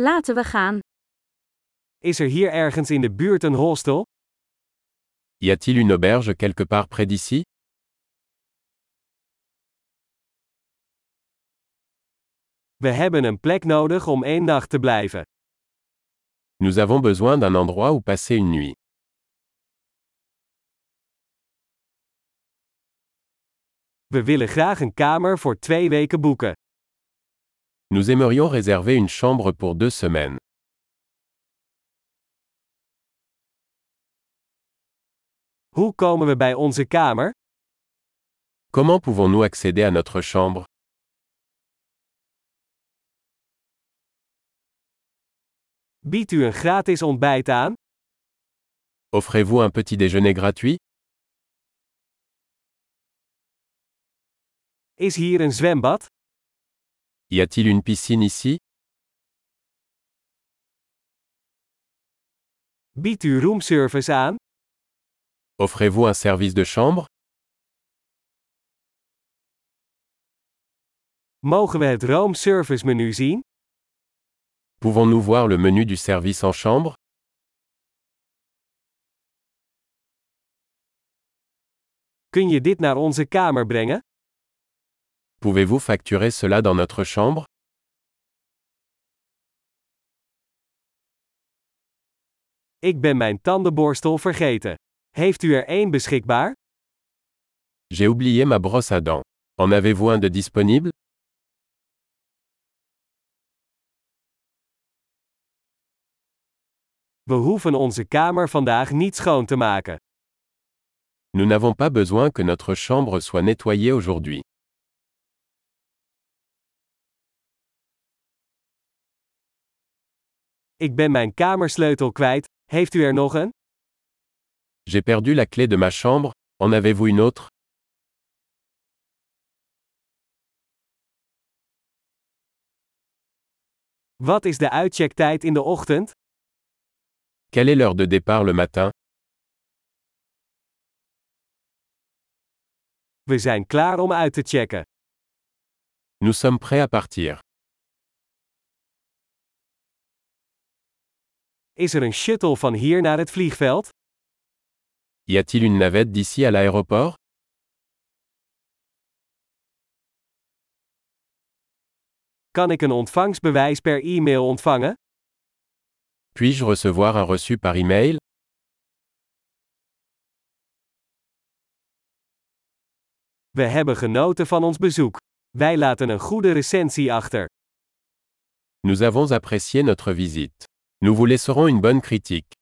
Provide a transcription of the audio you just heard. Laten we gaan. Is er hier ergens in de buurt een hostel? Y a-t-il une auberge quelque part près d'ici We hebben een plek nodig om één nacht te blijven. Nous avons besoin d'un endroit où passer une nuit. We willen graag een kamer voor twee weken boeken. Nous aimerions réserver une chambre pour deux semaines. Hoe komen we bij onze kamer? Comment pouvons-nous accéder à notre chambre Biedt u een gratis ontbijt aan? Offrez-vous un petit déjeuner gratuit Is hier een zwembad? Y a-t-il une piscine ici Biedt u roomservice aan? Offrez-vous un service de chambre Mogen we het roomservice menu zien? Pouvons-nous voir le menu du service en chambre Kun je dit naar onze kamer brengen? Pouvez-vous facturer cela dans notre chambre Ik ben mijn tandenborstel vergeten. Heeft u er één beschikbaar? J'ai oublié ma brosse à dents. En avez-vous un de disponible We hoeven onze kamer vandaag niet schoon te maken. Nous n'avons pas besoin que notre chambre soit nettoyée aujourd'hui. Ik ben mijn kamersleutel kwijt. Heeft u er nog een? J'ai perdu la clé de ma chambre, en avez-vous une autre Wat is de uitchecktijd in de ochtend? Quelle est l'heure de départ le matin We zijn klaar om uit te checken. Nous sommes prêts à partir. Is er een shuttle van hier naar het vliegveld? Y a-t-il une navette d'ici à l'aéroport Kan ik een ontvangstbewijs per e-mail ontvangen? Puis-je recevoir un reçu par email We hebben genoten van ons bezoek. Wij laten een goede recensie achter. Nous avons apprécié notre visite. Nous vous laisserons une bonne critique.